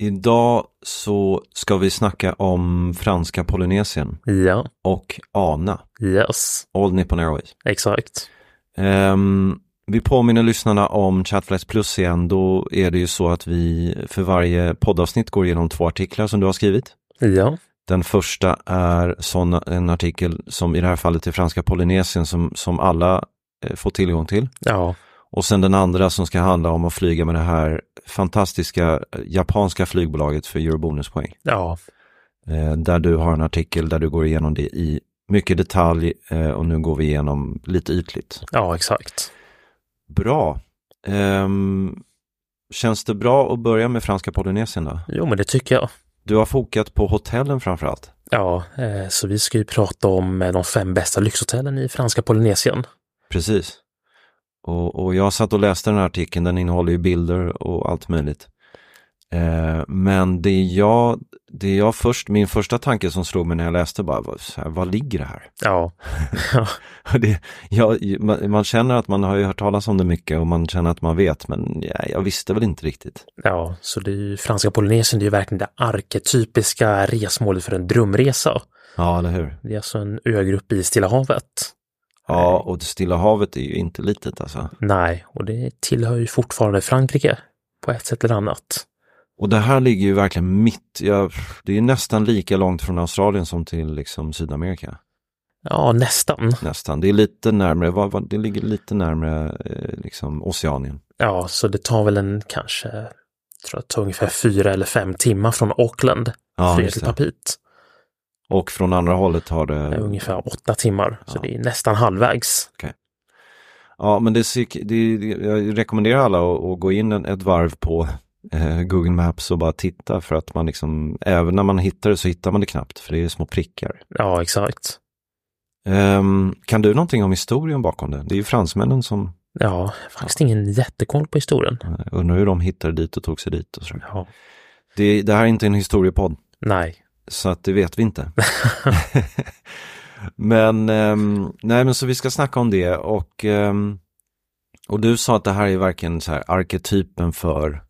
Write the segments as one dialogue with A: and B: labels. A: Idag så ska vi snacka om franska Polynesien
B: Ja.
A: och ANA,
B: Yes.
A: All Nippon Airways.
B: Exakt.
A: Ehm, vi påminner lyssnarna om Chatflex Plus igen. Då är det ju så att vi för varje poddavsnitt går igenom två artiklar som du har skrivit.
B: Ja.
A: Den första är sån, en artikel som i det här fallet är franska Polynesien som, som alla eh, får tillgång till.
B: Ja.
A: Och sen den andra som ska handla om att flyga med det här fantastiska eh, japanska flygbolaget för eurobonuspoäng.
B: Ja.
A: Eh, där du har en artikel där du går igenom det i mycket detalj eh, och nu går vi igenom lite ytligt.
B: Ja, exakt.
A: Bra. Ehm, känns det bra att börja med franska Polynesien då?
B: Jo, men det tycker jag.
A: Du har fokat på hotellen framför allt.
B: Ja, eh, så vi ska ju prata om eh, de fem bästa lyxhotellen i franska Polynesien.
A: Precis. Och, och jag satt och läste den här artikeln, den innehåller ju bilder och allt möjligt. Eh, men det jag, det jag först, min första tanke som slog mig när jag läste bara, var så här, vad ligger det här?
B: Ja. ja.
A: Och Det, ja, man, man känner att man har ju hört talas om det mycket och man känner att man vet, men ja, jag visste väl inte riktigt.
B: Ja, så det är ju franska Polynesien, det är ju verkligen det arketypiska resmålet för en drömresa.
A: Ja, eller hur?
B: Det är alltså en ögrupp i Stilla havet.
A: Ja, och det Stilla havet är ju inte litet alltså.
B: Nej, och det tillhör ju fortfarande Frankrike på ett sätt eller annat.
A: Och det här ligger ju verkligen mitt, jag, det är ju nästan lika långt från Australien som till liksom Sydamerika.
B: Ja, nästan.
A: Nästan, det är lite närmare, vad, vad, det ligger lite närmare eh, liksom Oceanien.
B: Ja, så det tar väl en kanske, jag tror jag tar ungefär fyra eller fem timmar från Auckland,
A: Ja,
B: flyga
A: just
B: till
A: det.
B: Papit.
A: Och från andra hållet har
B: Det är
A: det,
B: ungefär åtta timmar, så
A: Ja.
B: det är nästan halvvägs.
A: ja men det, är sick- det, är- jag rekommenderar alla att, att gå in en, ett varv på eh, Google Maps och bara titta för att man liksom, även när man hittar det så hittar man det knappt för det är små prickar.
B: Ja, exakt.
A: Ehm, kan du någonting om historien bakom det? Det är ju fransmännen som
B: Ja, faktiskt ingen jättekoll på historien.
A: eh, undrar hur de hittade dit och tog sig dit och sådär.
B: Ja.
A: Det, det här är inte en historiepodd,
B: Nej,
A: så att det vet vi inte. men, ehm, nej men så vi ska snacka om det och, ehm, och du sa att det här är verkligen så här arketypen för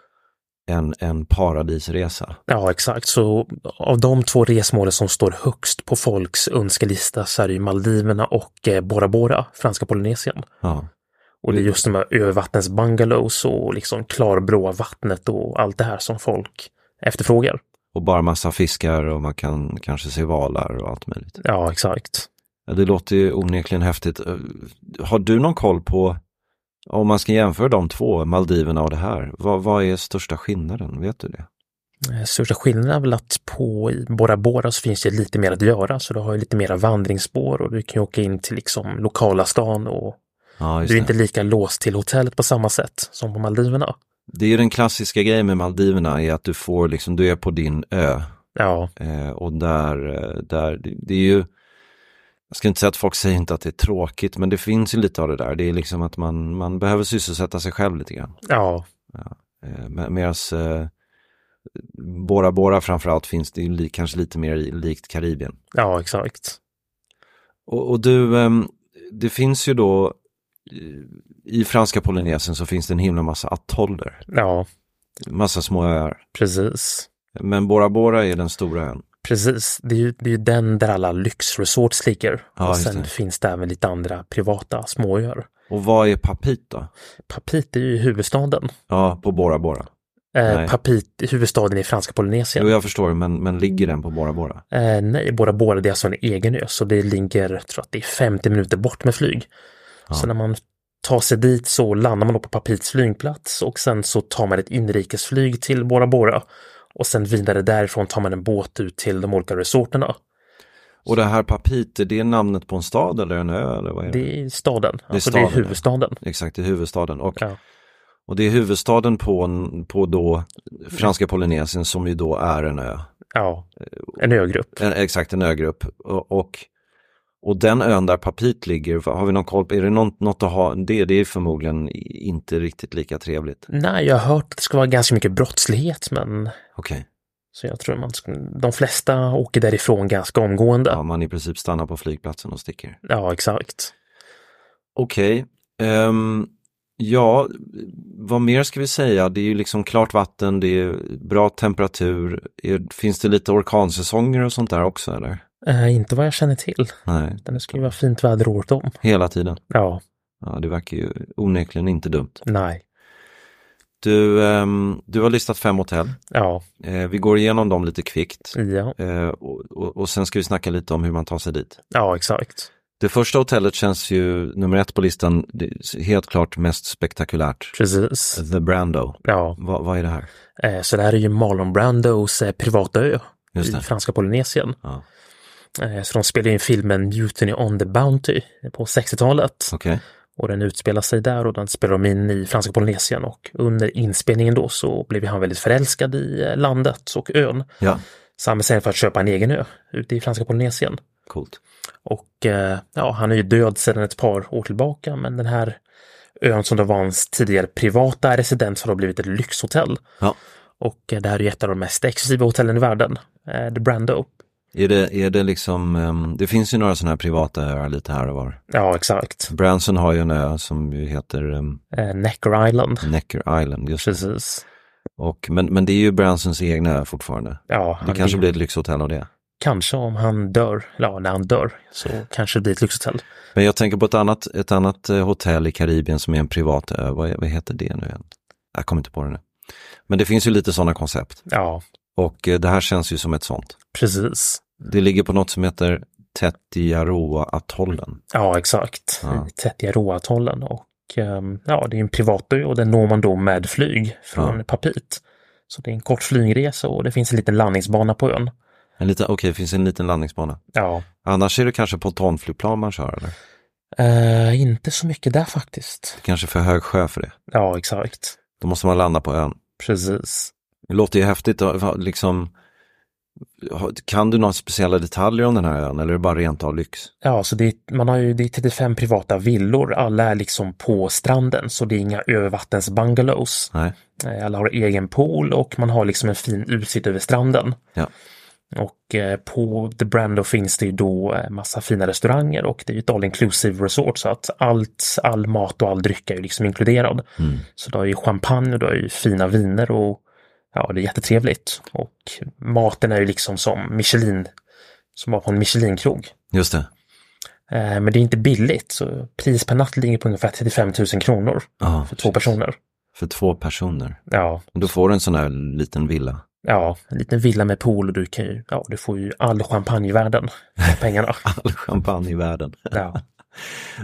A: en, en paradisresa.
B: ja exakt. Så av de två resmålen som står högst på folks önskelista så är det ju Maldiverna och eh, Bora Bora, franska Polynesien.
A: Ja,
B: Och
A: Mm.
B: det är just de här övervattnens bungalows och liksom klarblåa vattnet och allt det här som folk efterfrågar.
A: och bara massa fiskar och man kan kanske se valar och allt möjligt.
B: Ja, exakt.
A: Ja, det låter ju onekligen häftigt. Eh, Har du någon koll på, om man ska jämföra de två, Maldiverna och det här, vad, vad är största skillnaden? Vet du det?
B: Eh, Största skillnaden är väl att på i Bora Bora så finns det lite mer att göra, så du har ju lite mera vandringsspår och du kan ju åka in till liksom lokala stan och
A: Ja,
B: du är
A: det.
B: inte lika låst till hotellet på samma sätt som på Maldiverna.
A: Det är ju den klassiska grejen med Maldiverna är att du får liksom, du är på din ö
B: Ja,
A: eh, och där, eh, där, det är ju jag ska inte säga att folk säger inte att det är tråkigt, men det finns ju lite av det där. Det är liksom att man, man behöver sysselsätta sig själv lite grann.
B: Ja,
A: Eh, med- Medans eh, Bora Bora framförallt finns det ju li, kanske lite mer i- likt Karibien.
B: ja exakt.
A: Och, och du, ehm, det finns ju då i- i franska Polynesien så finns det en himla massa atoller,
B: Ja,
A: massa små öar.
B: precis.
A: Men Bora Bora är den stora ön.
B: Precis, det är, ju, det är ju den där alla lyxresorts ligger.
A: Ja,
B: och
A: just
B: sen
A: det.
B: finns det även lite andra privata småöar.
A: Och vad är Papit då?
B: Papit är ju huvudstaden.
A: Ja, på Bora Bora. Nej.
B: Eh, Papit, är huvudstaden i franska Polynesien.
A: Jo, jag förstår, men, men ligger den på Bora Bora?
B: Eh, nej, Bora Bora det är alltså en egen ö, så det ligger, jag tror att det är 50 minuter bort med flyg. Så när man tar sig dit så landar man då på Papits flygplats och sen så tar man ett inrikesflyg till Bora Bora. Och sen vidare därifrån tar man en båt ut till de olika resorterna.
A: Och det här Papit, är det namnet på en stad eller en ö? Eller vad är Mm. det?
B: Det är staden,
A: är
B: alltså det
A: staden,
B: är huvudstaden.
A: Exakt, det är huvudstaden. Och,
B: Ja.
A: och det är huvudstaden på, en- på då franska Polynesien som ju då är en ö.
B: Ja,
A: Eh,
B: en ögrupp.
A: En, exakt, en ögrupp. Och, och, och den ön där Papit ligger, har vi någon koll på, är det något, något att ha, det, det är förmodligen i- inte riktigt lika trevligt.
B: Nej, jag har hört att det ska vara ganska mycket brottslighet, men
A: Okej,
B: så jag tror man ska... de flesta åker därifrån ganska omgående.
A: ja,
B: Ja,
A: man i princip stannar på flygplatsen och sticker.
B: exakt.
A: Okej, ehm, ja, vad mer ska vi säga? Det är ju liksom klart vatten, det är bra temperatur. Är, finns det lite orkansäsonger och sånt där också eller?
B: Eh, inte vad jag känner till.
A: Nej,
B: Det ska ju vara fint väder året om.
A: hela tiden.
B: Ja,
A: Ja, det verkar ju onekligen inte dumt.
B: nej.
A: Du, ehm, du har listat fem hotell.
B: Ja,
A: Eh, vi går igenom dem lite kvickt
B: ja,
A: eh, och, och, och sen ska vi snacka lite om hur man tar sig dit.
B: ja, exakt.
A: Det första hotellet känns ju nummer ett på listan, det är helt klart mest spektakulärt.
B: Precis.
A: The Brando.
B: Ja,
A: Va, vad är det här?
B: eh, så det här är ju Marlon Brandos eh, privata ö
A: Just
B: i
A: det.
B: franska Polynesien.
A: Ja.
B: Eh, så de spelade in filmen Mutiny on the Bounty på 60-talet.
A: Okej.
B: Och den utspelar sig där och den spelar de in i franska Polynesien och under inspelningen då så blev han väldigt förälskad i eh, landet och ön.
A: Ja,
B: Så han bestämde sig för att köpa en egen ö ute i franska Polynesien.
A: coolt.
B: Och eh, ja, han är ju död sedan ett par år tillbaka men den här ön som då var hans tidigare privata residens har då blivit ett lyxhotell.
A: Ja.
B: Och eh, det här är ju ett av de mest exklusiva hotellen i världen, eh, The Brando.
A: Är det, är det liksom, ehm, det finns ju några sådana här privata öar lite här och var.
B: Ja, exakt.
A: Branson har ju en ö som ju heter um,
B: Eh, Necker Island.
A: Necker Island. Just. det.
B: Precis.
A: Och, men, men det är ju Bransons egna ö fortfarande.
B: Ja,
A: Det
B: han
A: kanske
B: vill-
A: blir ett lyxhotell av det.
B: Kanske om han dör, eller ja, när han dör, så kanske det blir ett lyxhotell.
A: Men jag tänker på ett annat, ett annat eh, hotell i Karibien som är en privat ö. Vad, är- vad heter det nu igen? Jag kommer inte på det nu. Men det finns ju lite sådana koncept
B: Ja,
A: och eh, det här känns ju som ett sånt.
B: precis.
A: Det ligger på något som heter Tetiaroa-atollen.
B: Ja, exakt.
A: Ja.
B: I Tetiaroa-atollen. Och ehm, ja, det är en privatö och den når man då med flyg från
A: Ja.
B: Papit. Så det är en kort flygresa och det finns en liten landningsbana på ön.
A: En liten- Okej, det finns en liten landningsbana.
B: Ja,
A: Annars är det kanske pontonflygplan man kör eller?
B: eh, inte så mycket där faktiskt.
A: Det kanske är för hög sjö för det.
B: Ja, exakt.
A: Då måste man landa på ön.
B: Precis.
A: Det låter ju häftigt. då. Va- Liksom, ha- kan du några speciella detaljer om den här ön eller är det bara rent av lyx?
B: Ja, så det är, man har ju, det är 35 privata villor. Alla är liksom på stranden, så det är inga övervattensbungalows.
A: Nej,
B: Eh, Alla har egen pool och man har liksom en fin utsikt över stranden.
A: ja.
B: Och eh, på The Brando finns det ju då eh, massa fina restauranger och det är ju ett all inclusive resort så att allt, all mat och all dryck är ju liksom inkluderad. Så du har ju champagne och du har ju fina viner och ja, det är jättetrevligt. Och maten är ju liksom som Michelin, som var på en Michelin-krog.
A: just det.
B: Eh, Men det är inte billigt, så pris per natt ligger på ungefär 35 000 kronor
A: Ja,
B: för två personer.
A: För två personer.
B: Ja,
A: Då får du en sån här liten villa.
B: Ja, en liten villa med pool och du kan ju, ja, du får ju all champagne i världen för pengarna.
A: All champagne i världen.
B: Ja,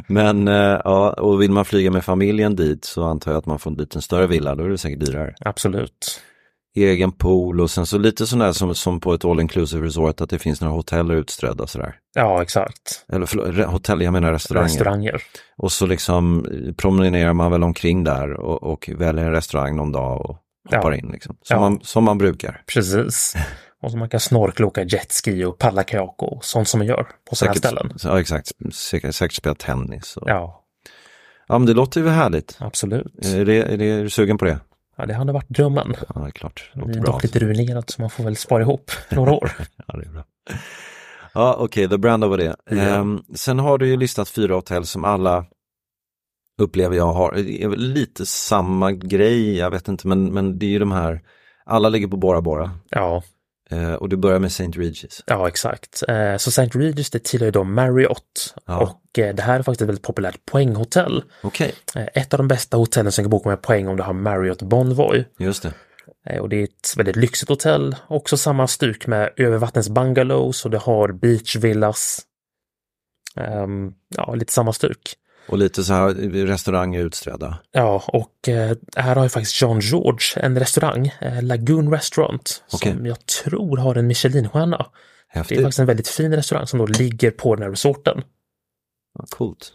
A: Men eh, ja, och vill man flyga med familjen dit så antar jag att man får en liten större villa, då är det säkert dyrare.
B: absolut.
A: Egen pool och sen så lite sån där som, som på ett all inclusive resort att det finns några hotell utströdda sådär.
B: Ja, exakt.
A: Eller förlåt, re- hotell, jag menar restauranger.
B: Restauranger.
A: Och så liksom eh, promenerar man väl omkring där och, och väljer en restaurang någon dag och hoppar
B: Ja.
A: in liksom. Som,
B: Ja.
A: man, som man brukar.
B: Precis. Och så man kan snorkla, åka jetski och paddla kajak och sånt som man gör på sådana här ställen.
A: Ja, exakt. Säkert, säkert spela tennis. Och... Ja.
B: Ja,
A: men det låter ju härligt.
B: absolut.
A: Är, det, är, det, är du sugen på det?
B: Ja, det hade varit drömmen.
A: Ja, det är klart. Det
B: Det
A: låter
B: är
A: bra.
B: dock lite ruinerat så man får väl spara ihop några år.
A: Ja, det är bra. Ja, okej, The Brand var det.
B: Ja.
A: Ehm, sen har du ju listat fyra hotell som alla upplever jag har det är väl lite samma grej, jag vet inte, men, men det är ju de här, alla ligger på Bora Bora
B: Ja,
A: Eh, och du börjar med St. Regis.
B: Ja, exakt. Eh, Så St. Regis det tillhör ju då Marriott
A: Ja.
B: och eh, det här är faktiskt ett väldigt populärt poänghotell.
A: Okej,
B: Eh, Ett av de bästa hotellen som kan boka med poäng om du har Marriott Bonvoy.
A: just det.
B: Eh, Och det är ett väldigt lyxigt hotell, också samma stuk med övervattens bungalows och det har beachvillas. Ehm, Ja, lite samma stuk.
A: Och lite så här, restauranger utsträdda.
B: Ja, och eh, här har ju faktiskt John George en restaurang, eh, Lagoon Restaurant, som
A: Okej.
B: jag tror har en Michelinstjärna. Det är
A: Häftigt,
B: faktiskt en väldigt fin restaurang som då ligger på den här resorten.
A: ja, coolt.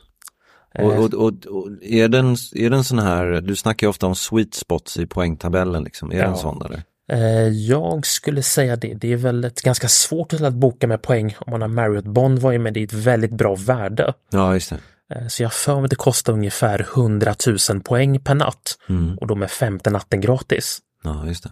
B: Eh,
A: Och, och, och, och är, den, är den sån här, du snackar ju ofta om sweet spots i poängtabellen, liksom. är
B: Ja.
A: den sån eller?
B: Eh, Jag skulle säga det. Det är väl ett ganska svårt hotell att boka med poäng om man har Marriott Bonvoy, men det är ett väldigt bra värde.
A: Ja, just det.
B: Eh, Så jag har för mig att det kostar ungefär 100 000 poäng per natt
A: Mm.
B: och då med femte natten gratis.
A: Ja, just det.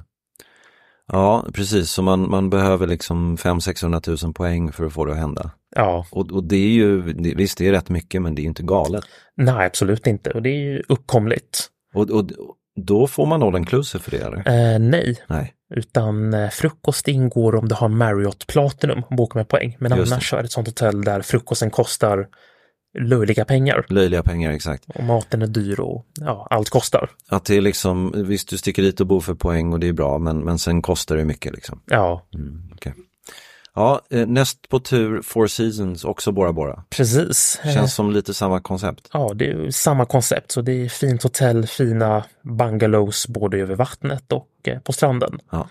A: Ja, precis. Så man, man behöver liksom 500-600 000 poäng för att få det att hända.
B: Ja,
A: Och, och det är ju, det, visst det är rätt mycket, men det är ju inte galet.
B: nej absolut inte och det är ju uppkomligt.
A: Och, och då får man all inclusive för det, eller?
B: Eh, nej,
A: Nej,
B: utan eh, frukost ingår om du har Marriott Platinum och bokar med poäng. Men
A: Just det.
B: annars så är det ett sånt hotell där frukosten kostar löjliga pengar
A: löjliga pengar, exakt.
B: och maten är dyr och ja, allt kostar.
A: Att det är liksom, visst du sticker dit och bor för poäng och det är bra, men, men sen kostar det mycket liksom.
B: Ja,
A: Mm, okej. Ja, eh, näst på tur Four Seasons, också Bora Bora.
B: precis. Eh,
A: Känns som lite samma koncept.
B: Ja, det är ju samma koncept. Så det är fint hotell, fina bungalows både över vattnet och eh, på stranden.
A: Ja.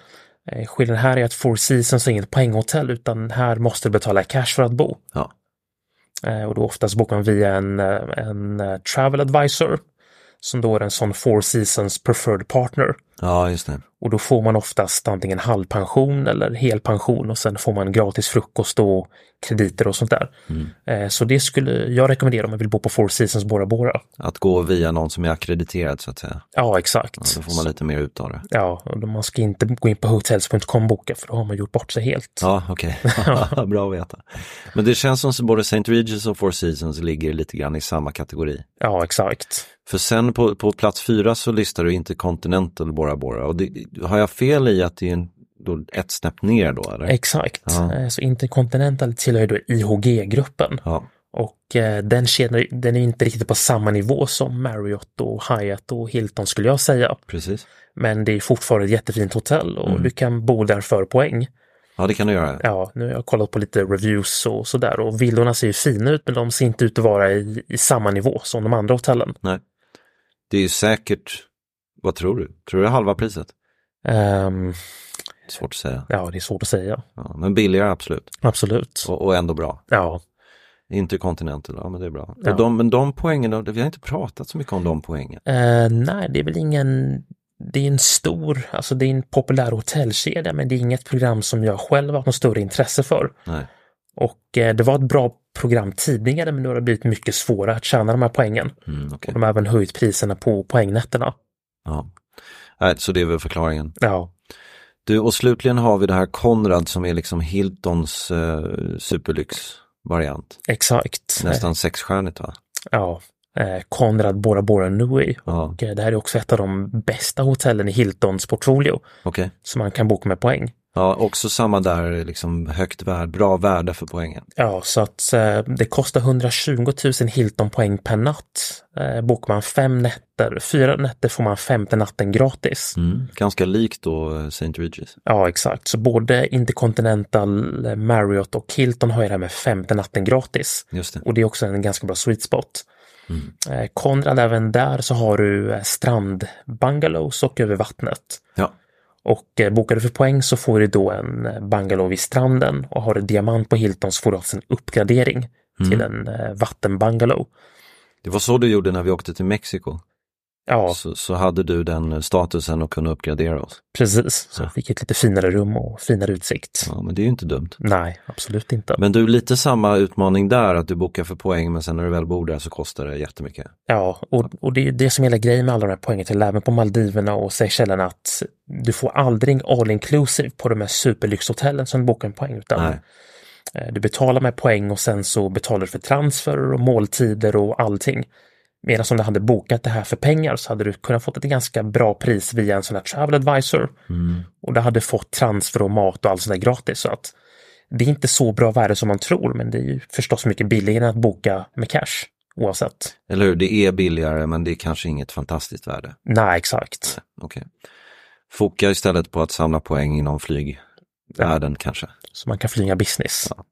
B: Eh, Skillnaden här är att Four Seasons är inget poänghotell utan här måste du betala cash för att bo.
A: Ja.
B: Eh, Och då oftast bokar man via en, eh, en eh, travel advisor som då är en sån Four Seasons preferred partner.
A: ja, just det.
B: Och då får man oftast antingen halvpension eller helpension och sen får man gratis frukost och krediter och sånt där. Eh, Så det skulle jag rekommendera om man vill bo på Four Seasons Bora Bora.
A: Att gå via någon som är ackrediterad så att säga.
B: Ja, exakt.
A: Då får man lite mer ut av det.
B: Ja, och då- man ska inte gå in på hotels.com och boka för då har man gjort bort sig helt.
A: Ja, okej. Bra att veta. Men det känns som att både St. Regis och Four Seasons ligger lite grann i samma kategori.
B: Ja, exakt.
A: För sen på, på plats fyra så listar du Intercontinental Bora Bora. Och det, har jag fel i att det är en, då ett snäpp ner då? Eller?
B: Exakt.
A: Ja.
B: Eh, Så Intercontinental tillhör ju då IHG-gruppen
A: ja,
B: och eh, den, kedjan- den är inte riktigt på samma nivå som Marriott och Hyatt och Hilton skulle jag säga.
A: precis.
B: Men det är fortfarande ett jättefint hotell
A: Mm.
B: och du kan bo där för poäng.
A: Ja, det kan du göra.
B: Ja, nu har jag kollat på lite reviews och sådär och villorna ser ju fina ut men de ser inte ut att vara i, i samma nivå som de andra hotellen.
A: Nej. Det är ju säkert, vad tror du? Tror du det är halva priset?
B: Ehm,
A: Svårt att säga.
B: ja, det är svårt att säga.
A: Ja, men billigare absolut.
B: Absolut.
A: Och, och ändå bra.
B: Ja,
A: Intercontinental, ja men det är bra.
B: Ja.
A: Och de, men de poängen, vi har inte pratat så mycket om de poängen.
B: Eh, nej, det är väl ingen... Det är en stor, alltså det är en populär hotellkedja, men det är inget program som jag själv har haft något större intresse för.
A: Nej.
B: Och eh, det var ett bra program tidigare, men nu har det blivit mycket svårare att tjäna de här poängen.
A: Mm, okej.
B: Och de har även höjt priserna på poängnätterna.
A: Ja. Nej, så det är väl förklaringen.
B: Ja,
A: Du, och slutligen har vi det här Konrad som är liksom Hiltons eh, superlyxvariant.
B: exakt.
A: Nästan sexstjärnigt va?
B: Ja. Eh, Konrad Bora Bora Nui.
A: Ja,
B: Och eh, det här är också ett av de bästa hotellen i Hiltons portfolio
A: okej.
B: som man kan boka med poäng.
A: Ja, också samma där, liksom högt värde, bra värde för poängen.
B: Ja, så att eh, det kostar 120 000 Hilton-poäng per natt. Eh, bokar man fem nätter, fyra nätter får man femte natten gratis.
A: Ganska likt då eh, St. Regis.
B: Ja, exakt. Så både Intercontinental, eh, Marriott och Hilton har ju det här med femte natten gratis.
A: Just det.
B: Och det är också en ganska bra sweet spot. Eh, Konrad, även där så har du eh, strandbungalows och över vattnet.
A: Ja,
B: Och eh, bokar du för poäng så får du då en eh, bungalow vid stranden och har du diamant på Hilton så får du alltså en uppgradering
A: Mm.
B: till en eh, vattenbungalow.
A: det var så du gjorde när vi åkte till Mexiko.
B: Ja,
A: så, så hade du den eh, statusen och kunde uppgradera oss.
B: precis. Så fick ett lite finare rum och finare utsikt.
A: Ja, men det är ju inte dumt.
B: Nej, absolut inte.
A: Men du, lite samma utmaning där, att du bokar för poäng men sen när du väl bor där så kostar det jättemycket.
B: Ja, och, och det är ju det som är hela grejen med alla de här poängen till även på Maldiverna och Seychellerna, att du får aldrig all inclusive på de här superlyxhotellen som du bokar en poäng, utan
A: Nej.
B: eh, du betalar med poäng och sen så betalar du för transfer och måltider och allting. Medan om du hade bokat det här för pengar så hade du kunnat fått ett ganska bra pris via en sån här travel advisor och du hade fått transfer och mat och allt sånt där gratis. Så att det är inte så bra värde som man tror, men det är ju förstås mycket billigare än att boka med cash oavsett.
A: Eller hur, det är billigare men det är kanske inget fantastiskt värde.
B: Nej, exakt.
A: Okej. Foka istället på att samla poäng inom flygvärlden kanske.
B: Så man kan flyga business. Ja,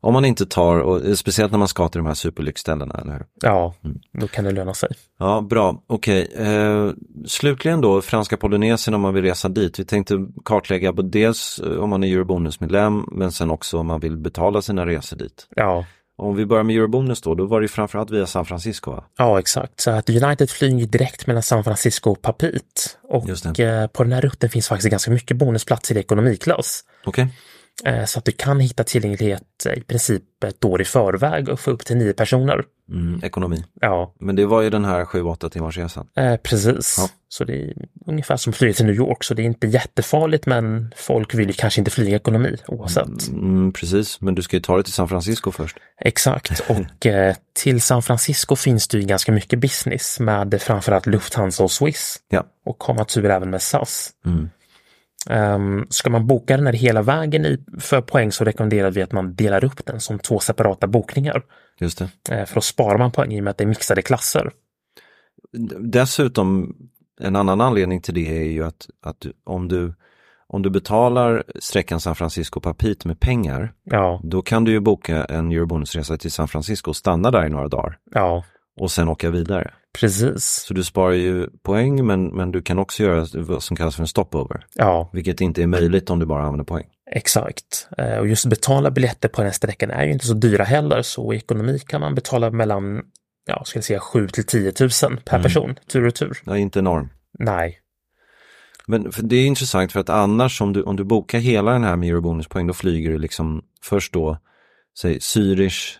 A: Om man inte tar, och speciellt när man ska till de här superlyxställena, eller hur?
B: då kan det löna sig.
A: Ja, bra. Okej. Eh, slutligen då, franska Polynesien om man vill resa dit. Vi tänkte kartlägga på dels eh, om man är Eurobonus-medlem, men sen också om man vill betala sina resor dit.
B: Ja,
A: Om vi börjar med Eurobonus då, då var det ju framförallt via San Francisco. Va?
B: ja exakt. Så att United flyger direkt mellan San Francisco och Papit.
A: Just
B: Och eh, på den här rutten finns faktiskt ganska mycket bonusplatser i ekonomiklass.
A: Okej.
B: Eh, Så att du kan hitta tillgänglighet eh, i princip ett år i förväg och få upp till nio personer.
A: Mm, ekonomi.
B: Ja,
A: Men det var ju den här 7-8 timmars resan.
B: eh, precis.
A: Ja.
B: Så det är ungefär som flyget till New York, så det är inte jättefarligt, men folk vill ju kanske inte flyga ekonomi oavsett.
A: Mm, precis, men du ska ju ta dig till San Francisco först.
B: Exakt, och eh, till San Francisco finns det ju ganska mycket business med framförallt Lufthansa och Swiss
A: Ja.
B: och komma tur även med SAS. Ehm, ska man boka den här hela vägen i, för poäng så rekommenderar vi att man delar upp den som två separata bokningar.
A: Just det.
B: Eh, för då sparar man poäng i och med att det är mixade klasser.
A: D- Dessutom, en annan anledning till det är ju att, att du, om, du, om du betalar sträckan San Francisco-Papit med pengar,
B: Ja,
A: då kan du ju boka en Eurobonusresa till San Francisco och stanna där i några dagar
B: ja,
A: och sen åka vidare.
B: precis.
A: Så du sparar ju poäng, men, men du kan också göra vad som kallas för en stopover,
B: Ja,
A: vilket inte är möjligt om du bara använder poäng.
B: Exakt. Eh, Och just betala biljetter på den sträckan är ju inte så dyra heller, så i ekonomi kan man betala mellan, ja, ska jag säga 7 till 10 000 per
A: Mm.
B: person, tur och tur.
A: Det är inte enorm.
B: Nej,
A: Men för det är intressant för att annars om du, om du bokar hela den här med eurobonuspoäng då flyger du liksom först då, säg Zürich,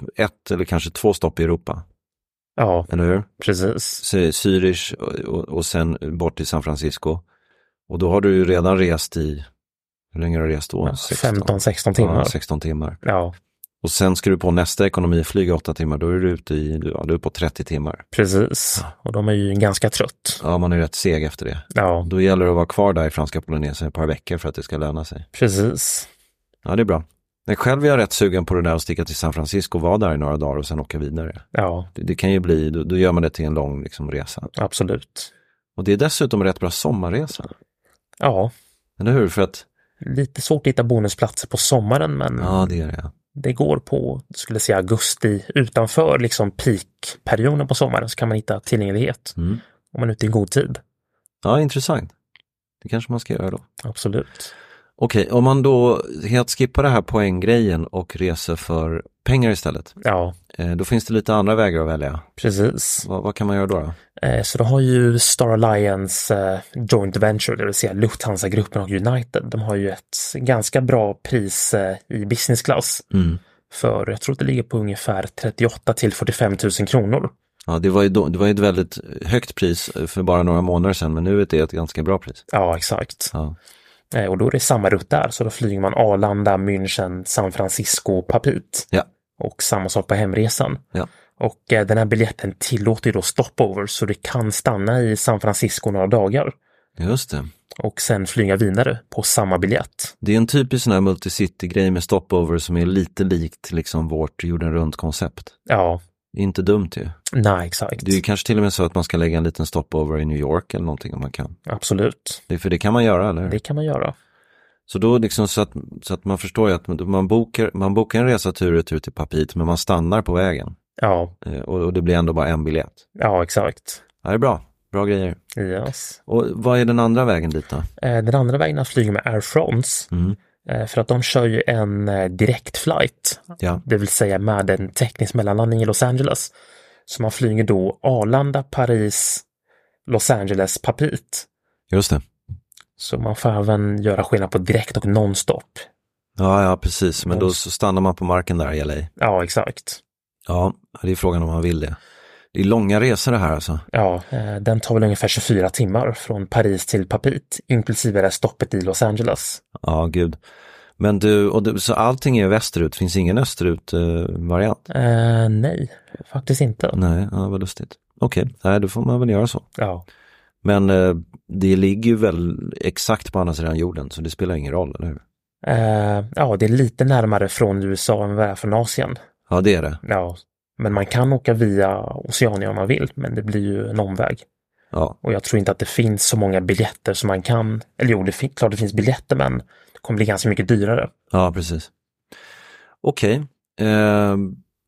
A: t- ett eller kanske två stopp i Europa,
B: ja,
A: eller hur?
B: precis.
A: Säg Zürich och, och, och sen bort till San Francisco. Och då har du ju redan rest i, hur länge har du rest då?
B: 15-16 timmar.
A: Ja, 16 timmar.
B: Ja,
A: Och sen ska du på nästa ekonomiflyg i 8 timmar, då är du ute i, ja, du är på 30 timmar.
B: precis. Och de är ju ganska trött.
A: Ja, man är rätt seg efter det.
B: Ja,
A: Då gäller det att vara kvar där i franska Polynesien ett par veckor för att det ska löna sig.
B: precis.
A: Ja, det är bra. Men själv är jag rätt sugen på det där att sticka till San Francisco, vara där i några dagar och sen åka vidare.
B: Ja,
A: Det, det kan ju bli, då, då gör man det till en lång liksom, resa.
B: absolut.
A: Och det är dessutom en rätt bra sommarresa.
B: Ja,
A: Eller hur? För att,
B: lite svårt att hitta bonusplatser på sommaren, men
A: ja det är det. ja.
B: det går på, skulle jag säga, augusti utanför liksom peakperioden på sommaren så kan man hitta tillgänglighet.
A: Mm.
B: Om man är ute i god tid.
A: Ja, intressant. Det kanske man ska göra då.
B: Absolut.
A: Okej, om man då helt skippar det här poänggrejen och reser för pengar istället,
B: Ja,
A: eh, då finns det lite andra vägar att välja.
B: precis.
A: Vad- vad kan man göra då? då?
B: Eh, Så då har ju Star Alliance eh, Joint Venture, det vill säga Lufthansa-gruppen och United, de har ju ett ganska bra pris eh, i business class. För jag tror att det ligger på ungefär 38 till 45 000 kronor.
A: Ja, det, var ju då, det var ju ett väldigt högt pris för bara några månader sedan, men nu är det ett ganska bra pris.
B: Ja, exakt.
A: Ja.
B: Eh, Och då är det samma rutt där, så då flyger man Arlanda, München, San Francisco, Papit.
A: Ja.
B: Och samma sak på hemresan.
A: Ja.
B: Och eh, den här biljetten tillåter ju då stopovers, så du kan stanna i San Francisco några dagar.
A: Just det.
B: och sen flyga vidare på samma biljett.
A: Det är en typisk sån här multicity-grej med stopover som är lite likt liksom vårt jorden runt-koncept.
B: Ja,
A: Inte dumt ju.
B: nej exakt.
A: Det är ju kanske till och med så att man ska lägga en liten stopover i New York eller någonting om man kan.
B: Absolut,
A: Det, för det kan man göra, eller hur?
B: det kan man göra.
A: Så då liksom så att, så att man förstår ju att man bokar, man bokar en resa tur och retur till Papit men man stannar på vägen.
B: Ja,
A: Eh, Och, och det blir ändå bara en biljett.
B: ja exakt.
A: Ja, det är bra. Bra grejer.
B: Yes.
A: Och vad är den andra vägen dit då?
B: Eh, Den andra vägen att flyga med Air France,
A: Mm.
B: eh, för att de kör ju en eh, direktflight,
A: Ja,
B: det vill säga med en teknisk mellanlandning i Los Angeles. Så man flyger då Arlanda, Paris, Los Angeles Paprit.
A: Just det.
B: Så man får även göra skillnad på direkt och nonstop.
A: Ja, ja, precis. Men då så stannar man på marken där i LA.
B: Ja, exakt.
A: Ja, det är frågan om man vill det. Det är långa resor det här alltså.
B: Ja, eh, den tar väl ungefär 24 timmar från Paris till Papit, inklusive det här stoppet i Los Angeles.
A: Ja, gud. Men du, och du, så allting är västerut, finns ingen österut-variant?
B: Eh, nej, faktiskt inte.
A: Nej, ja, vad lustigt. Okej, nej, då får man väl göra så.
B: Ja,
A: Men eh, det ligger ju väl exakt på andra sidan jorden, så det spelar ingen roll, eller hur?
B: eh, ja det är lite närmare från USA än vad det är från Asien.
A: Ja, det är det.
B: Ja, men man kan åka via Oceanien om man vill, men det blir ju en omväg.
A: Ja,
B: Och jag tror inte att det finns så många biljetter som man kan, eller jo, det fin- klart det finns biljetter, men det kommer bli ganska mycket dyrare.
A: ja precis. Okej, eh,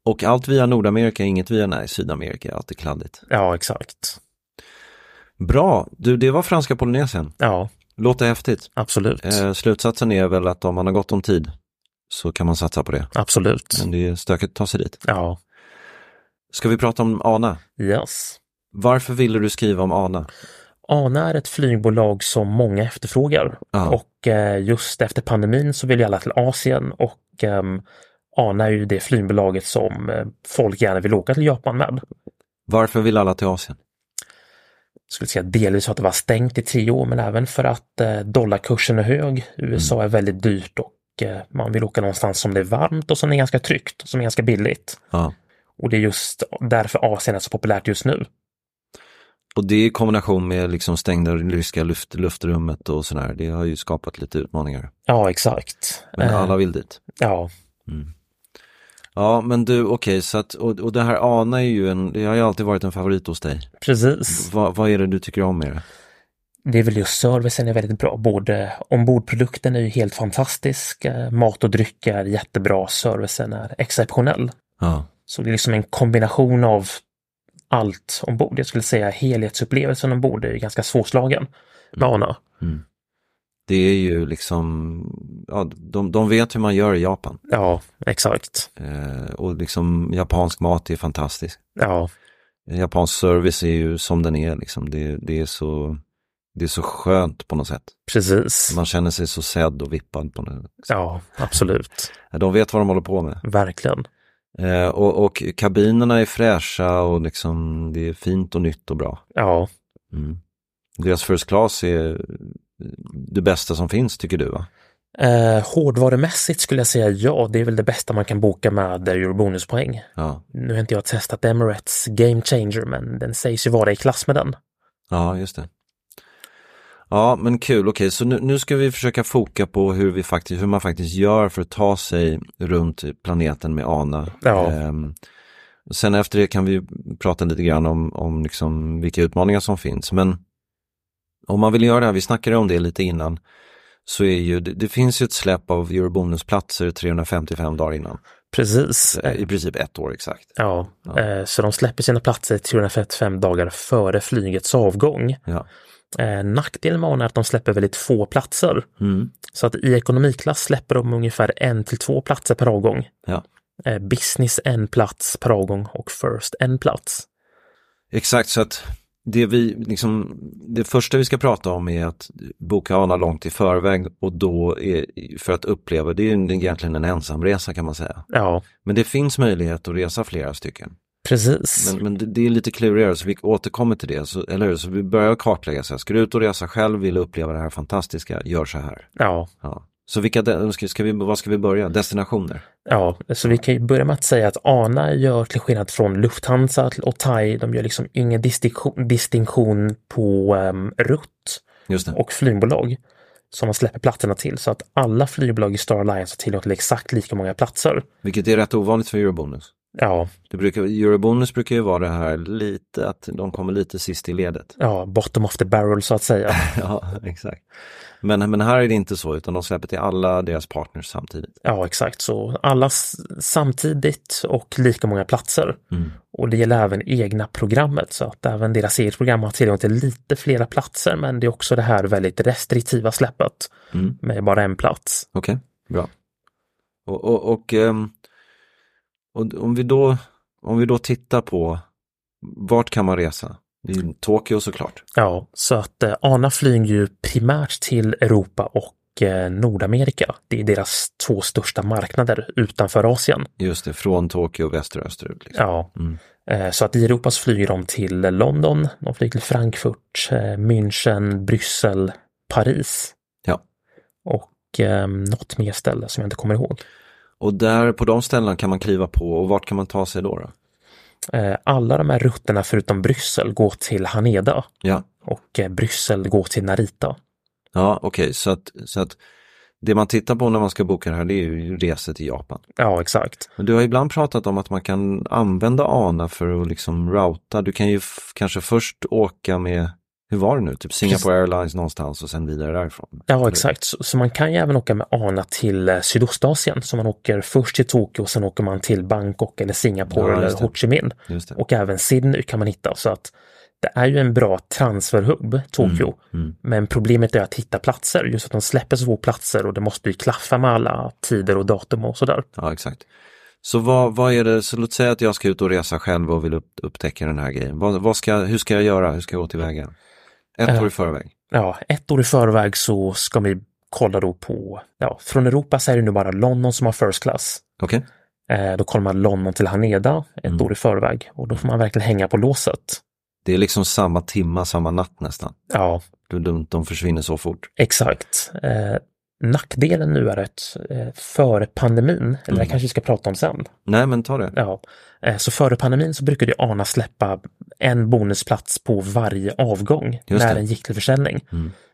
A: och allt via Nordamerika, inget via nej, Sydamerika, allt är kladdigt.
B: Ja, exakt.
A: Bra, du, det var franska Polynesien.
B: Ja,
A: Låter häftigt.
B: absolut.
A: Eh, slutsatsen är väl att om man har gott om tid så kan man satsa på det.
B: absolut.
A: Men det är stökigt att ta sig dit.
B: Ja,
A: Ska vi prata om ANA?
B: yes.
A: Varför ville du skriva om ANA?
B: ANA är ett flygbolag som många efterfrågar
A: Ja.
B: och eh, just efter pandemin så vill ju alla till Asien och ehm, ANA är ju det flygbolaget som eh, folk gärna vill åka till Japan med.
A: Varför vill alla till Asien?
B: Jag skulle säga delvis för att det var stängt i tre år men även för att eh, dollarkursen är hög. USA
A: Mm.
B: är väldigt dyrt och eh, man vill åka någonstans som det är varmt och som är ganska tryggt och som är ganska billigt.
A: Ja.
B: Och det är just därför Asien är så populärt just nu.
A: Och det i kombination med liksom stängda ryska luft, luftrummet och sådär, det har ju skapat lite utmaningar.
B: Ja, exakt.
A: Men
B: Eh,
A: alla vill dit.
B: Ja,
A: Ja, men du, okej, så att, och, och det här ANA är ju en, det har ju alltid varit en favorit hos dig.
B: precis.
A: Va, vad är det du tycker om med det?
B: Det är väl just servicen är väldigt bra. Både ombordprodukten är ju helt fantastisk, eh, mat och dryck är jättebra, servicen är exceptionell.
A: Ja,
B: Så det är liksom en kombination av allt ombord. Jag skulle säga helhetsupplevelsen ombord är ju ganska svårslagen. med ANA.
A: det är ju liksom, ja, de, de vet hur man gör i Japan.
B: Ja, exakt.
A: Eh, och liksom japansk mat är fantastisk.
B: Ja,
A: Japansk service är ju som den är liksom. Det, det, är så, det är så skönt på något sätt.
B: precis.
A: Man känner sig så sedd och vippad på något sätt.
B: Ja, absolut.
A: De vet vad de håller på med.
B: Verkligen.
A: Eh, och, och kabinerna är fräscha och liksom det är fint och nytt och bra.
B: Ja,
A: Mm. Deras first class är eh, det bästa som finns tycker du va?
B: eh, hårdvarumässigt skulle jag säga ja, det är väl det bästa man kan boka med eh, eurobonuspoäng.
A: Ja,
B: Nu har inte jag testat Emirates Game Changer, men den sägs ju vara i klass med den.
A: ja just det. Ja men kul, okej så nu, nu ska vi försöka foka på hur, vi faktiskt, hur man faktiskt gör för att ta sig runt planeten med ANA.
B: Ja.
A: Ehm, sen efter det kan vi prata lite grann om, om liksom vilka utmaningar som finns. Men om man vill göra det här, vi snackade om det lite innan, så är ju, det, det finns ju ett släpp av eurobonusplatser 355 dagar innan,
B: Precis.
A: Eh, i princip ett år exakt.
B: Ja, eh, så de släpper sina platser 355 dagar före flygets avgång.
A: Ja.
B: Eh, Nackdelen med ANA är att de släpper väldigt få platser.
A: Mm.
B: Så att i ekonomiklass släpper de ungefär en till två platser per avgång.
A: Ja.
B: Eh, Business en plats per avgång och First en plats.
A: Exakt, så att det, vi, liksom, det första vi ska prata om är att boka ANA långt i förväg och då är, för att uppleva, det är ju egentligen en ensamresa kan man säga.
B: Ja,
A: Men det finns möjlighet att resa flera stycken.
B: precis.
A: Men, men det, det är lite klurigare så vi återkommer till det, så, eller hur? Så vi börjar kartlägga så här, ska du ut och resa själv, vill uppleva det här fantastiska, gör så här.
B: Ja,
A: Ja. Så vilka, de- ska, ska vi, vad ska vi börja? Destinationer?
B: ja, så vi kan ju börja med att säga att ANA gör till skillnad från Lufthansa till- och Thai, de gör liksom ingen distinktion, distinktion på um, rutt.
A: Just det.
B: och flygbolag som man släpper platserna till så att alla flygbolag i Star Alliance har tillgång till exakt lika många platser.
A: Vilket är rätt ovanligt för Eurobonus.
B: Ja,
A: Det brukar, Eurobonus brukar ju vara det här lite, att de kommer lite sist i ledet.
B: ja, bottom of the barrel så att säga.
A: Ja, exakt. Men, men här är det inte så, utan de släpper till alla deras partners samtidigt.
B: Ja, exakt. Så alla s- samtidigt och lika många platser. Och det gäller även egna programmet så att även deras eget program har tillgång till lite flera platser men det är också det här väldigt restriktiva släppet
A: Mm.
B: med bara en plats.
A: Okej, bra. Och, och, och, ehm, och om, vi då, om vi då tittar på, vart kan man resa? I Tokyo såklart.
B: Ja, så att eh, ANA flyger ju primärt till Europa och eh, Nordamerika. Det är deras två största marknader utanför Asien.
A: Just det, från Tokyo väster och österut. Liksom.
B: Ja, Eh, så att i Europa så flyger de till London, de flyger till Frankfurt, eh, München, Bryssel, Paris
A: Ja.
B: och eh, något mer ställe som jag inte kommer ihåg.
A: Och där på de ställena kan man kliva på och vart kan man ta sig då? då?
B: Eh, alla de här rutterna förutom Bryssel går till Haneda
A: Ja,
B: och eh, Bryssel går till Narita.
A: ja okej, så, att, så att det man tittar på när man ska boka det här det är ju resor till Japan.
B: Ja, exakt.
A: Men du har ibland pratat om att man kan använda ANA för att liksom routa. Du kan ju f- kanske först åka med, hur var det nu, typ Singapore Airlines någonstans och sen vidare därifrån.
B: Ja, exakt. Så, så man kan ju även åka med ANA till eh, Sydostasien. Så man åker först till Tokyo och sen åker man till Bangkok eller Singapore
A: Ja,
B: eller
A: just det.
B: Ho Chi Minh.
A: Just det.
B: Och även Sydney kan man hitta. Så att det är ju en bra transferhubb, Tokyo.
A: Mm,
B: Men problemet är att hitta platser. Just att de släpper så få platser och det måste ju klaffa med alla tider och datum och sådär.
A: Ja, exakt. Så vad, vad är det, så låt säga att jag ska ut och resa själv och vill upp, upptäcka den här grejen. Vad, vad ska, hur ska jag göra? Hur ska jag gå tillväga? Ett år i förväg.
B: Ja, ett år i förväg så ska vi kolla då på, ja, från Europa så är det nu bara London som har first class.
A: Okej,
B: Eh, Då kollar man London till Haneda ett
A: Mm.
B: år i förväg och då får man verkligen hänga på låset.
A: det är liksom samma timma, samma natt nästan.
B: Ja,
A: Du, de, de försvinner så fort.
B: exakt. Eh, nackdelen nu är att eh, före pandemin, eller
A: Mm.
B: det kanske vi ska prata om sen,
A: Nej, men ta det.
B: ja, eh, så före pandemin så brukade ju ANA släppa en bonusplats på varje avgång
A: Just
B: när
A: det. Mm.
B: den gick till försäljning.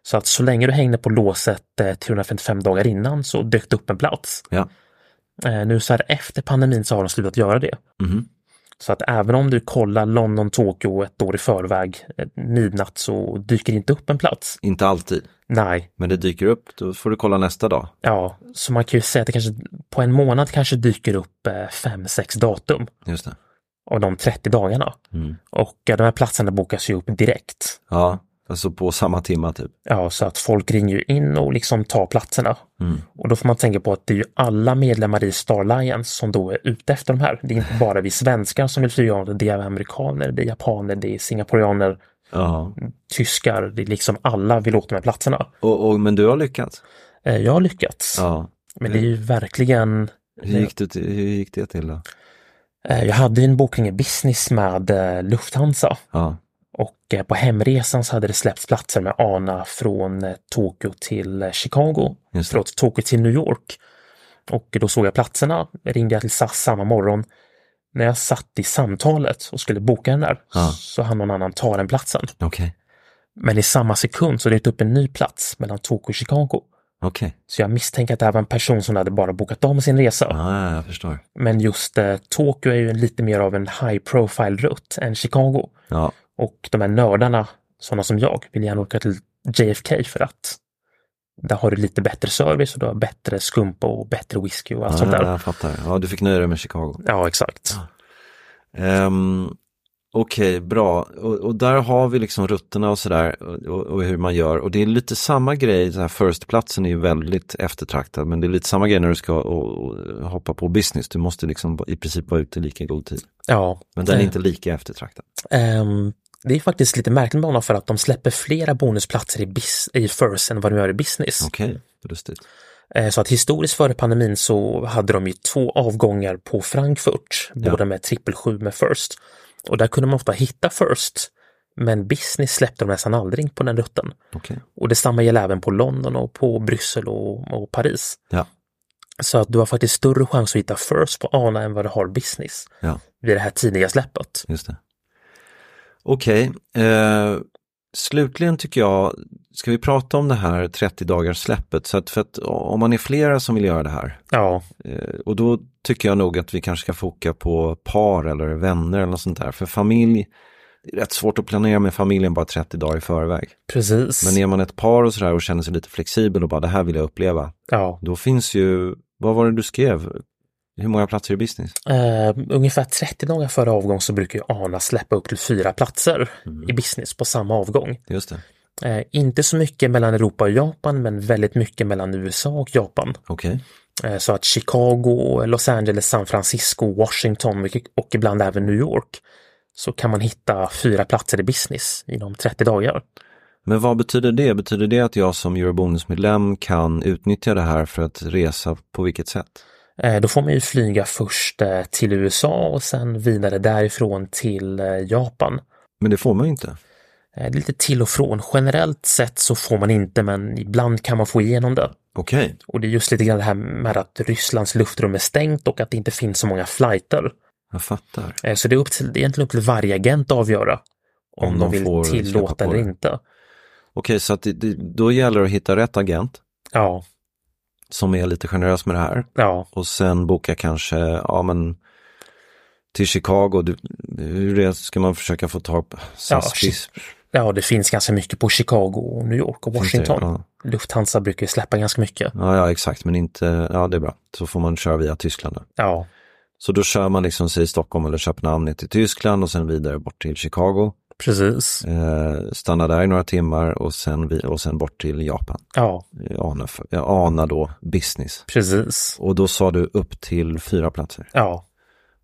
B: Så att så länge du hängde på låset eh, 355 dagar innan så dök det upp en plats.
A: Ja.
B: Eh, Nu så här efter pandemin så har de slutat göra det.
A: Mhm.
B: Så att även om du kollar London, Tokyo ett år i förväg, eh, midnatt, så dyker det inte upp en plats.
A: Inte alltid,
B: Nej,
A: men det dyker upp. Då får du kolla nästa dag.
B: ja, så man kan ju säga att det kanske på en månad kanske dyker upp eh, fem, sex datum
A: Just det.
B: av de 30 dagarna.
A: Mm.
B: Och eh, de här platserna bokas ju upp direkt.
A: Ja, alltså på samma timma typ.
B: Ja, så att folk ringer ju in och liksom tar platserna. Och då får man tänka på att det är ju alla medlemmar i Star Alliance som då är ute efter de här. Det är inte bara vi svenskar som vill flyga, av det, det är amerikaner, det är japaner, det är singaporeaner,
A: Ja,
B: tyskar, det är liksom alla vill åt de här platserna.
A: Mm. och, och, men du har lyckats.
B: Eh, Jag har lyckats,
A: Ja.
B: men det är ju verkligen...
A: Hur gick, du, till- hur gick det till då?
B: Eh, Jag hade ju en bokning i business med eh, Lufthansa
A: Ja,
B: och eh, på hemresan så hade det släppts platser med ANA från eh, Tokyo till eh, Chicago,
A: Just det.
B: förlåt, Tokyo till New York. Och då såg jag platserna, ringde jag till SAS samma morgon. När jag satt i samtalet och skulle boka den där
A: Ja.
B: så hann någon annan ta den platsen.
A: okej.
B: Men i samma sekund så dök upp en ny plats mellan Tokyo och Chicago.
A: Okej,
B: Så jag misstänker att det här var en person som hade bara bokat om sin resa.
A: ah, jag förstår.
B: Men just eh, Tokyo är ju en lite mer av en high profile rutt än Chicago.
A: Ja,
B: Och de här nördarna, sådana som jag, vill gärna åka till JFK för att där har du lite bättre service och du har bättre skumpa och bättre whisky och allt sånt
A: ah,
B: Alltså, där.
A: jag fattar. Ja, du fick nöja dig med Chicago.
B: Ja, exakt.
A: Um, Okej, bra. Och, och där har vi liksom rutterna och sådär och, och hur man gör. Och det är lite samma grej, den här firstplatsen är ju väldigt eftertraktad, men det är lite samma grej när du ska och, och hoppa på business. Du måste liksom i princip vara ute lika i god tid.
B: Ja.
A: Men den är
B: Eh,
A: inte lika eftertraktad.
B: ehm, det är faktiskt lite märkligt med honom för att de släpper flera bonusplatser i, bis- i first än vad de gör i business.
A: Okej, lustigt.
B: Eh, Så att historiskt före pandemin så hade de ju två avgångar på Frankfurt, båda med 777 med First. Och där kunde man ofta hitta First, men Business släppte de nästan aldrig på den rutten.
A: Okej.
B: Och detsamma gäller även på London och på Bryssel och, och Paris.
A: Ja,
B: Så att du har faktiskt större chans att hitta First på ANA än vad du har Business
A: ja,
B: vid det här tidiga släppet.
A: just det. Okej, eh, slutligen tycker jag, ska vi prata om det här 30 dagars släppet? Så att, för att om man är flera som vill göra det här,
B: Ja,
A: Eh, Och då tycker jag nog att vi kanske ska foka på par eller vänner eller något sånt där. För familj, det är rätt svårt att planera med familjen bara 30 dagar i förväg.
B: precis.
A: Men är man ett par och sådär och känner sig lite flexibel och bara det här vill jag uppleva.
B: ja.
A: Då finns ju, vad var det du skrev? Hur många platser i business?
B: Eh, ungefär 30 dagar före avgång så brukar ju ANA släppa upp till fyra platser i Business på samma avgång.
A: Just det.
B: Eh, inte så mycket mellan Europa och Japan, men väldigt mycket mellan USA och Japan.
A: Okej.
B: Eh, så att Chicago, Los Angeles, San Francisco, Washington och- och ibland även New York så kan man hitta fyra platser i business inom 30 dagar.
A: Men vad betyder det? Betyder det att jag som Eurobonus-medlem kan utnyttja det här för att resa på vilket sätt?
B: Eh, Då får man ju flyga först eh, till USA och sen vidare därifrån till eh, Japan.
A: Men det får man ju inte.
B: Eh, Det är lite till och från. Generellt sett så får man inte, men ibland kan man få igenom det.
A: Okej.
B: Och det är just lite grann det här med att Rysslands luftrum är stängt och att det inte finns så många flighter.
A: Jag fattar.
B: Eh, Så det är, upp till, det är egentligen upp till varje agent att avgöra om,
A: Om
B: de
A: de
B: vill
A: får släppa på
B: tillåta eller
A: det.
B: inte.
A: Okej, så att det, det, då gäller det att hitta rätt agent
B: Ja,
A: som är lite generös med det här
B: ja,
A: och sen boka kanske, ja men till Chicago, du, hur det ska man försöka få tag på? Saspis,
B: ja, det finns ganska mycket på Chicago, och New York och
A: finns det?
B: Washington.
A: Ja. Mm.
B: Lufthansa brukar ju släppa ganska mycket.
A: Ja, ja, exakt, men inte, ja det är bra. Så får man köra via Tyskland. Då.
B: Ja,
A: Så då kör man liksom, säg Stockholm eller Köpenhamn ner till Tyskland och sen vidare bort till Chicago.
B: precis.
A: Eh, stanna där i några timmar och sen, vi, och sen bort till Japan.
B: Ja,
A: Jag anar, för- jag anar då business.
B: precis.
A: Och då sa du upp till fyra platser.
B: Ja,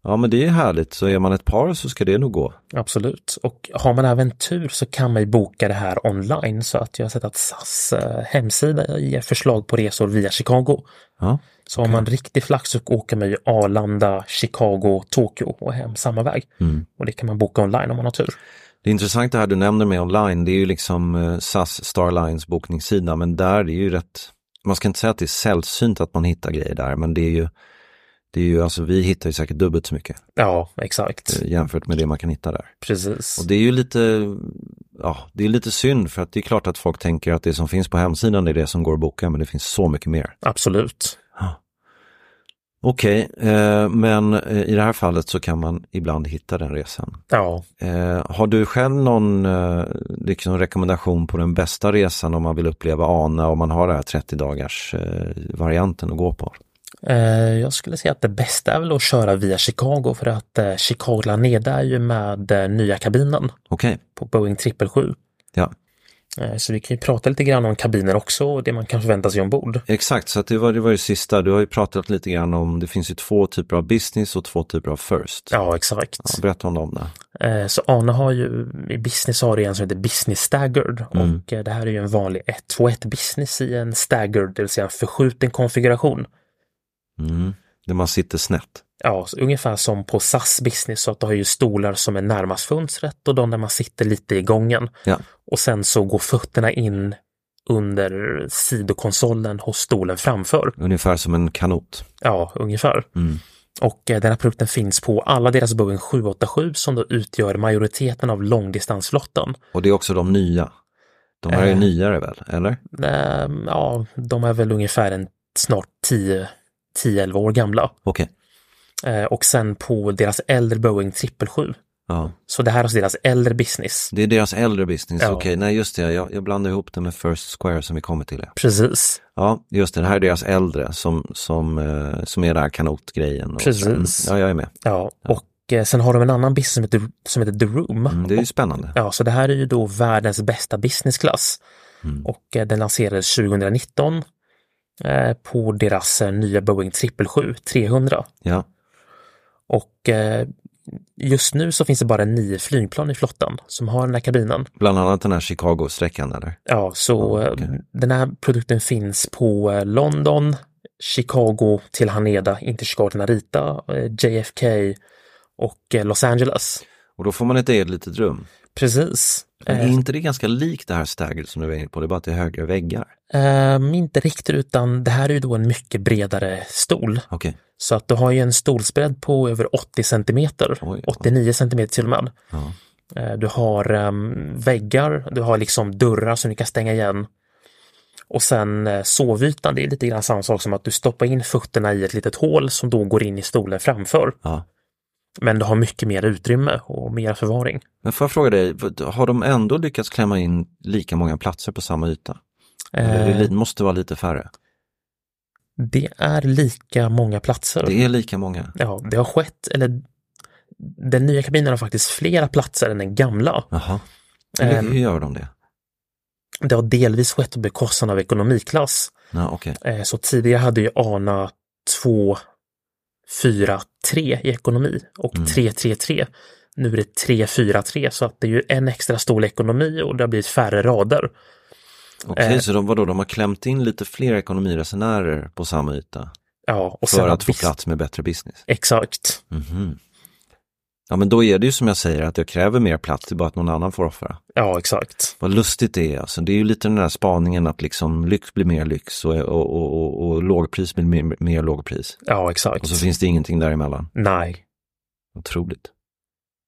A: Ja men det är härligt, så är man ett par så ska det nog gå.
B: absolut. Och har man även tur så kan man ju boka det här online så att jag har sett att SAS eh, hemsida ger förslag på resor via Chicago.
A: Ja,
B: Så om man riktigt flax så åker man ju Arlanda, Chicago, Tokyo och hem samma väg.
A: Mm.
B: Och det kan man boka online om man har tur.
A: det är intressant det här du nämner med online, det är ju liksom eh, SAS Starlines bokningssida, men där är det ju rätt, man ska inte säga att det är sällsynt att man hittar grejer där, men det är ju, det är ju alltså vi hittar ju säkert dubbelt så mycket
B: Ja, exakt.
A: eh, jämfört med det man kan hitta där.
B: Precis.
A: Och det är ju lite, ja, det är lite synd för att det är klart att folk tänker att det som finns på hemsidan är det som går att boka, men det finns så mycket mer.
B: Absolut.
A: Okej, eh, men eh, i det här fallet så kan man ibland hitta den resan.
B: Ja,
A: Eh, har du själv någon eh, liksom rekommendation på den bästa resan om man vill uppleva ANA och man har den här 30 dagars eh, varianten att gå på?
B: eh, jag skulle säga att det bästa är väl att köra via Chicago för att eh, Chicago Laneda är ju med eh, nya kabinen
A: Okej,
B: på Boeing 777.
A: ja.
B: Eh, så vi kan ju prata lite grann om kabiner också och det man kan förvänta sig ombord.
A: Exakt, så att det, var, det var det sista. Du har ju pratat lite grann om, det finns ju två typer av business och två typer av first.
B: Ja, exakt.
A: Berätta om dem då.
B: Eh, Så ANA har ju, i business har det en som heter business staggered
A: Mm.
B: och eh, det här är ju en vanlig 1-2-1 business i en staggered, det vill säga en förskjuten konfiguration.
A: Mm. Där man sitter snett.
B: Ja, så ungefär som på SAS business så att du har ju stolar som är närmast fönstret och de där man sitter lite i gången.
A: Ja.
B: Och sen så går fötterna in under sidokonsolen hos stolen framför.
A: Ungefär som en kanot. Mm.
B: Ja, ungefär. Och eh, den här produkten finns på alla deras Boeing 787 som då utgör majoriteten av långdistansflottan.
A: Och det är också de nya. De här är
B: Eh.
A: nyare väl, eller?
B: Eh, ja, de är väl ungefär en snart 10 10-11 år gamla.
A: Okej.
B: Eh, och sen på deras äldre Boeing 777.
A: Ja.
B: Så det här är alltså deras äldre business.
A: Det är deras äldre business,
B: Ja.
A: okej, nej just det, jag, jag blandar ihop det med First Square som vi kommer till. ja.
B: Precis,
A: Ja, just det, det här är deras äldre som, som, eh, som är den här kanotgrejen. Och
B: Precis.
A: Mm, ja, jag är med.
B: ja. Och eh, sen har de en annan business som heter, som heter The Room.
A: Mm, det är ju spännande.
B: Ja, så det här är ju då världens bästa businessklass.
A: Mm.
B: Och eh, den lanserades 2019 eh, på deras eh, nya Boeing 777-300.
A: Ja,
B: Och eh, just nu så finns det bara nio flygplan i flottan som har den här kabinen.
A: bland annat den här Chicago-sträckan eller?
B: Ja, så eh,
A: okej.
B: den här produkten finns på eh, London, Chicago till Haneda, inte Chicago till Narita, eh, JFK och eh, Los Angeles.
A: Och då får man ett eget litet rum.
B: Precis.
A: Men är
B: Eh,
A: inte det ganska likt det här stagget som du var inne på, det är bara att det är högre väggar?
B: Ehm, inte riktigt, utan det här är ju då en mycket bredare stol.
A: Okej,
B: Så att du har ju en stolsbredd på över 80 centimeter,
A: Oj, oj.
B: 89 centimeter till och med.
A: ja.
B: Eh, Du har ehm, väggar, du har liksom dörrar som du kan stänga igen. Och sen eh, sovytan, det är lite grann samma sak som att du stoppar in fötterna i ett litet hål som då går in i stolen framför.
A: ja.
B: Men du har mycket mer utrymme och mer förvaring.
A: Men får jag fråga dig, har de ändå lyckats klämma in lika många platser på samma yta? Eller det
B: Eh,
A: li- måste vara lite färre?
B: Det är lika många platser.
A: Det är lika många.
B: Ja, det har skett, eller den nya kabinen har faktiskt flera platser än den gamla.
A: Jaha, Eller
B: Ehm.
A: hur gör de det?
B: Det har delvis skett på bekostnad av ekonomiklass.
A: Ja, okej.
B: Eh, Så tidigare hade ju ANA
A: Mm.
B: 2, 4, 3 i ekonomi och 3, 3, 3. Nu är det 3-4-3 så att det är ju en extra stor ekonomi och det har blivit färre rader.
A: Okej,
B: Eh.
A: så de, vadå, de har klämt in lite fler ekonomiresenärer på samma yta
B: Ja, och
A: för
B: sen
A: att få
B: visst-
A: plats med bättre business?
B: Exakt.
A: Mhm. Ja, men då är det ju som jag säger att jag kräver mer plats, det är bara att någon annan får offra.
B: Ja, exakt.
A: Vad lustigt det är alltså. Det är ju lite den där spaningen att liksom lyx blir mer lyx och, och, och, och, och lågpris blir mer, mer lågpris.
B: Ja, exakt.
A: Och så finns det ingenting däremellan.
B: Nej.
A: Otroligt.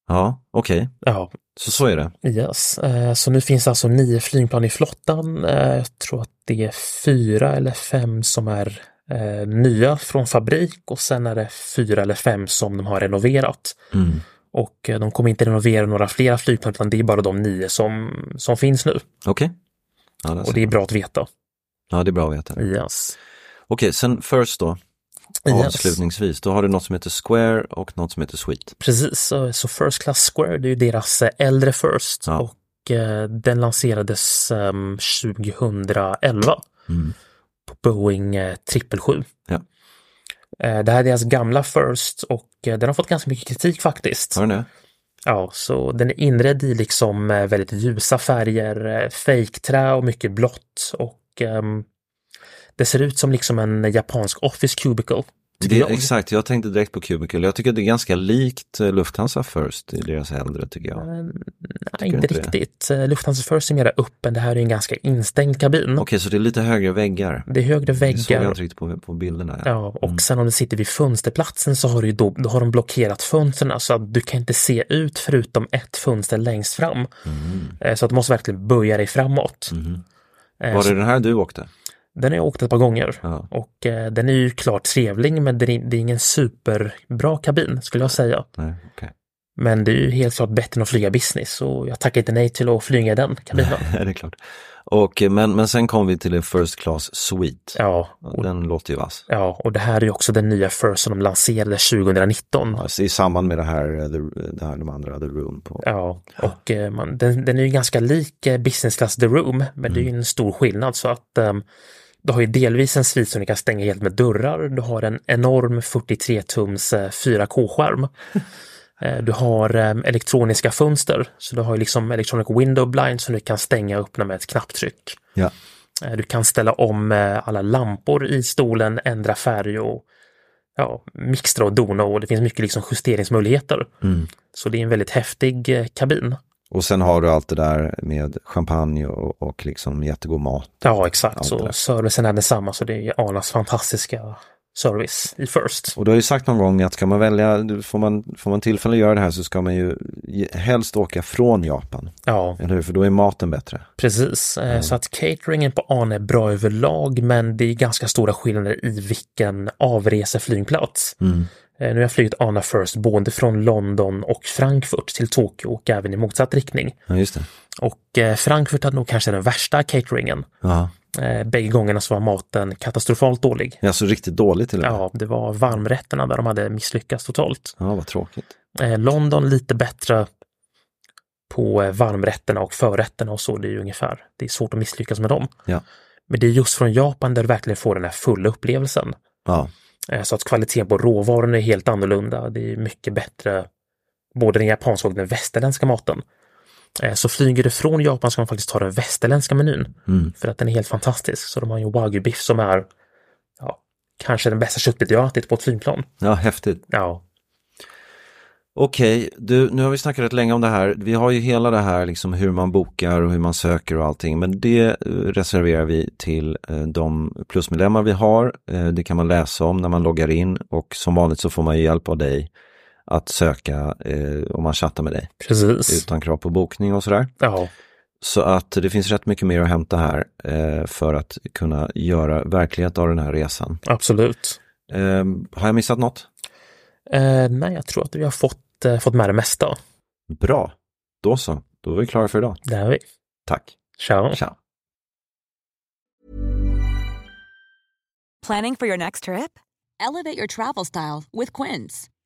A: Ja, okej.
B: Ja,
A: Så så är det.
B: Yes, eh, så nu finns det alltså nio flygplan i flottan. Eh, Jag tror att det är fyra eller fem som är eh, nya från fabrik och sen är det fyra eller fem som de har renoverat.
A: Mm.
B: Och eh, de kommer inte renovera några flera flygplan utan det är bara de nio som, som finns nu.
A: Okej. Ja,
B: Och
A: där
B: det
A: ser
B: är Mm.
A: man.
B: bra att veta.
A: ja, det är bra att veta. det.
B: Yes.
A: Okej, sen First då,
B: yes.
A: avslutningsvis. Då har du något som heter Square och något som heter Sweet.
B: Precis, eh, så First Class Square det är ju deras eh, äldre First
A: Ja.
B: och eh, den lanserades ehm, 2011
A: Mm.
B: på Boeing eh, 777.
A: Ja.
B: Eh, Det här är deras gamla First och eh, den har fått ganska mycket kritik faktiskt.
A: Har du det?
B: Ja, så den är inredd i liksom eh, väldigt ljusa färger, eh, fejkträ och mycket blått och ehm, det ser ut som liksom en japansk Office Cubicle. tycker
A: det
B: jag.
A: Exakt, jag tänkte direkt på Cubicle. Jag tycker det är ganska likt eh, Lufthansa First i deras äldre tycker jag.
B: Eh, Nej,
A: Tycker du
B: inte
A: inte det?
B: riktigt. Eh, Lufthansa First är mera öppen. Det här är en ganska instängd kabin.
A: Okej, så det är lite högre väggar.
B: Det är högre
A: Det såg jag
B: väggar.
A: inte riktigt på, på bilderna.
B: Ja, och
A: Mm.
B: sen om du sitter vid fönsterplatsen så har, du ju då, då har de blockerat fönstren så att du kan inte se ut förutom ett fönster längst fram.
A: Mm.
B: Eh, Så att du måste verkligen böja dig framåt. Eh,
A: Var
B: så
A: det den här du åkte?
B: Den har jag åkt ett par gånger
A: Ja.
B: och eh, den är ju klart trevlig men det är, det är ingen superbra kabin skulle jag säga.
A: Nej, okej.
B: Men det är ju helt klart bättre än att flyga business och jag tackar inte nej till att flyga i den kabinen.
A: det är klart. Och, eh, men, men sen kom vi till en First Class Suite.
B: Ja,
A: Och Den låter ju vass.
B: Ja, och det här är ju också den nya First som de lanserade 2019.
A: Alltså, I samband med det här, eh, the, det här de andra, The Room. På.
B: Ja, och eh, man, den, den är ju ganska lik eh, Business Class The Room, men det är ju en stor skillnad så att ehm, du har ju delvis en svit som du kan stänga helt med dörrar. Du har en enorm 43-tums eh, 4K-skärm. Eh, Du har ehm, elektroniska fönster, så du har ju liksom electronic window blind som du kan stänga och öppna med ett knapptryck.
A: Ja.
B: Eh, Du kan ställa om eh, alla lampor i stolen, ändra färg och ja, mixtra och dona och det finns mycket liksom justeringsmöjligheter. Så det är en väldigt häftig eh, kabin.
A: Och sen har du allt det där med champagne och, och liksom jättegod mat.
B: Ja, exakt.
A: Allt det där.
B: så servicen är densamma, så det är Arlas fantastiska service i First.
A: Och du har ju sagt någon gång att ska man välja, får man, får man tillfälle att göra det här så ska man ju helst åka från Japan.
B: Ja,
A: Eller hur? För då är maten bättre.
B: precis. Eh, Så att cateringen på Arne är bra överlag, men det är ganska stora skillnader i vilken avreseflygplats. Eh, Nu har jag flugit Arna First både från London och Frankfurt till Tokyo och även i motsatt riktning.
A: Ja, just det.
B: Och eh, Frankfurt hade nog kanske den värsta cateringen.
A: Ja,
B: Eh, Bägge gångerna så var maten katastrofalt dålig.
A: ja så riktigt dåligt till och med.
B: Ja, det var varmrätterna där de hade misslyckats totalt.
A: ja vad tråkigt.
B: Eh, London lite bättre på eh, varmrätterna och förrätterna och så, det är ju ungefär. Det är svårt att misslyckas med dem.
A: Ja.
B: Men det är just från Japan där du verkligen får den här fulla upplevelsen.
A: Ja,
B: Eh, Så att kvaliteten på råvarorna är helt annorlunda. Det är mycket bättre både den japanska och den västerländska maten. Eh, Så flyger du från Japan ska man faktiskt ta den västerländska menyn för att den är helt fantastisk. Så de har ju wagyu-biff som är ja, kanske den bästa köttbit jag har ätit på ett flygplan.
A: ja häftigt.
B: Ja,
A: Okej, du, nu har vi snackat rätt länge om det här. Vi har ju hela det här liksom hur man bokar och hur man söker och allting. Men det eh, reserverar vi till eh, de plusmedlemmar vi har. Eh, det kan man läsa om när man loggar in och som vanligt så får man ju hjälp av dig att söka eh, om man chattar med dig
B: precis.
A: utan krav på bokning och sådär.
B: Ja,
A: Så att det finns rätt mycket mer att hämta här eh, för att kunna göra verklighet av den här resan.
B: absolut.
A: Eh, har jag missat något?
B: Eh, nej, jag tror att vi har fått, eh, fått med det mesta.
A: Bra, då så. Då är vi klara för idag.
B: Det är vi.
A: Tack.
B: Ciao.
A: Ciao.
C: Planning for your next trip? Elevate your travel style with Quince.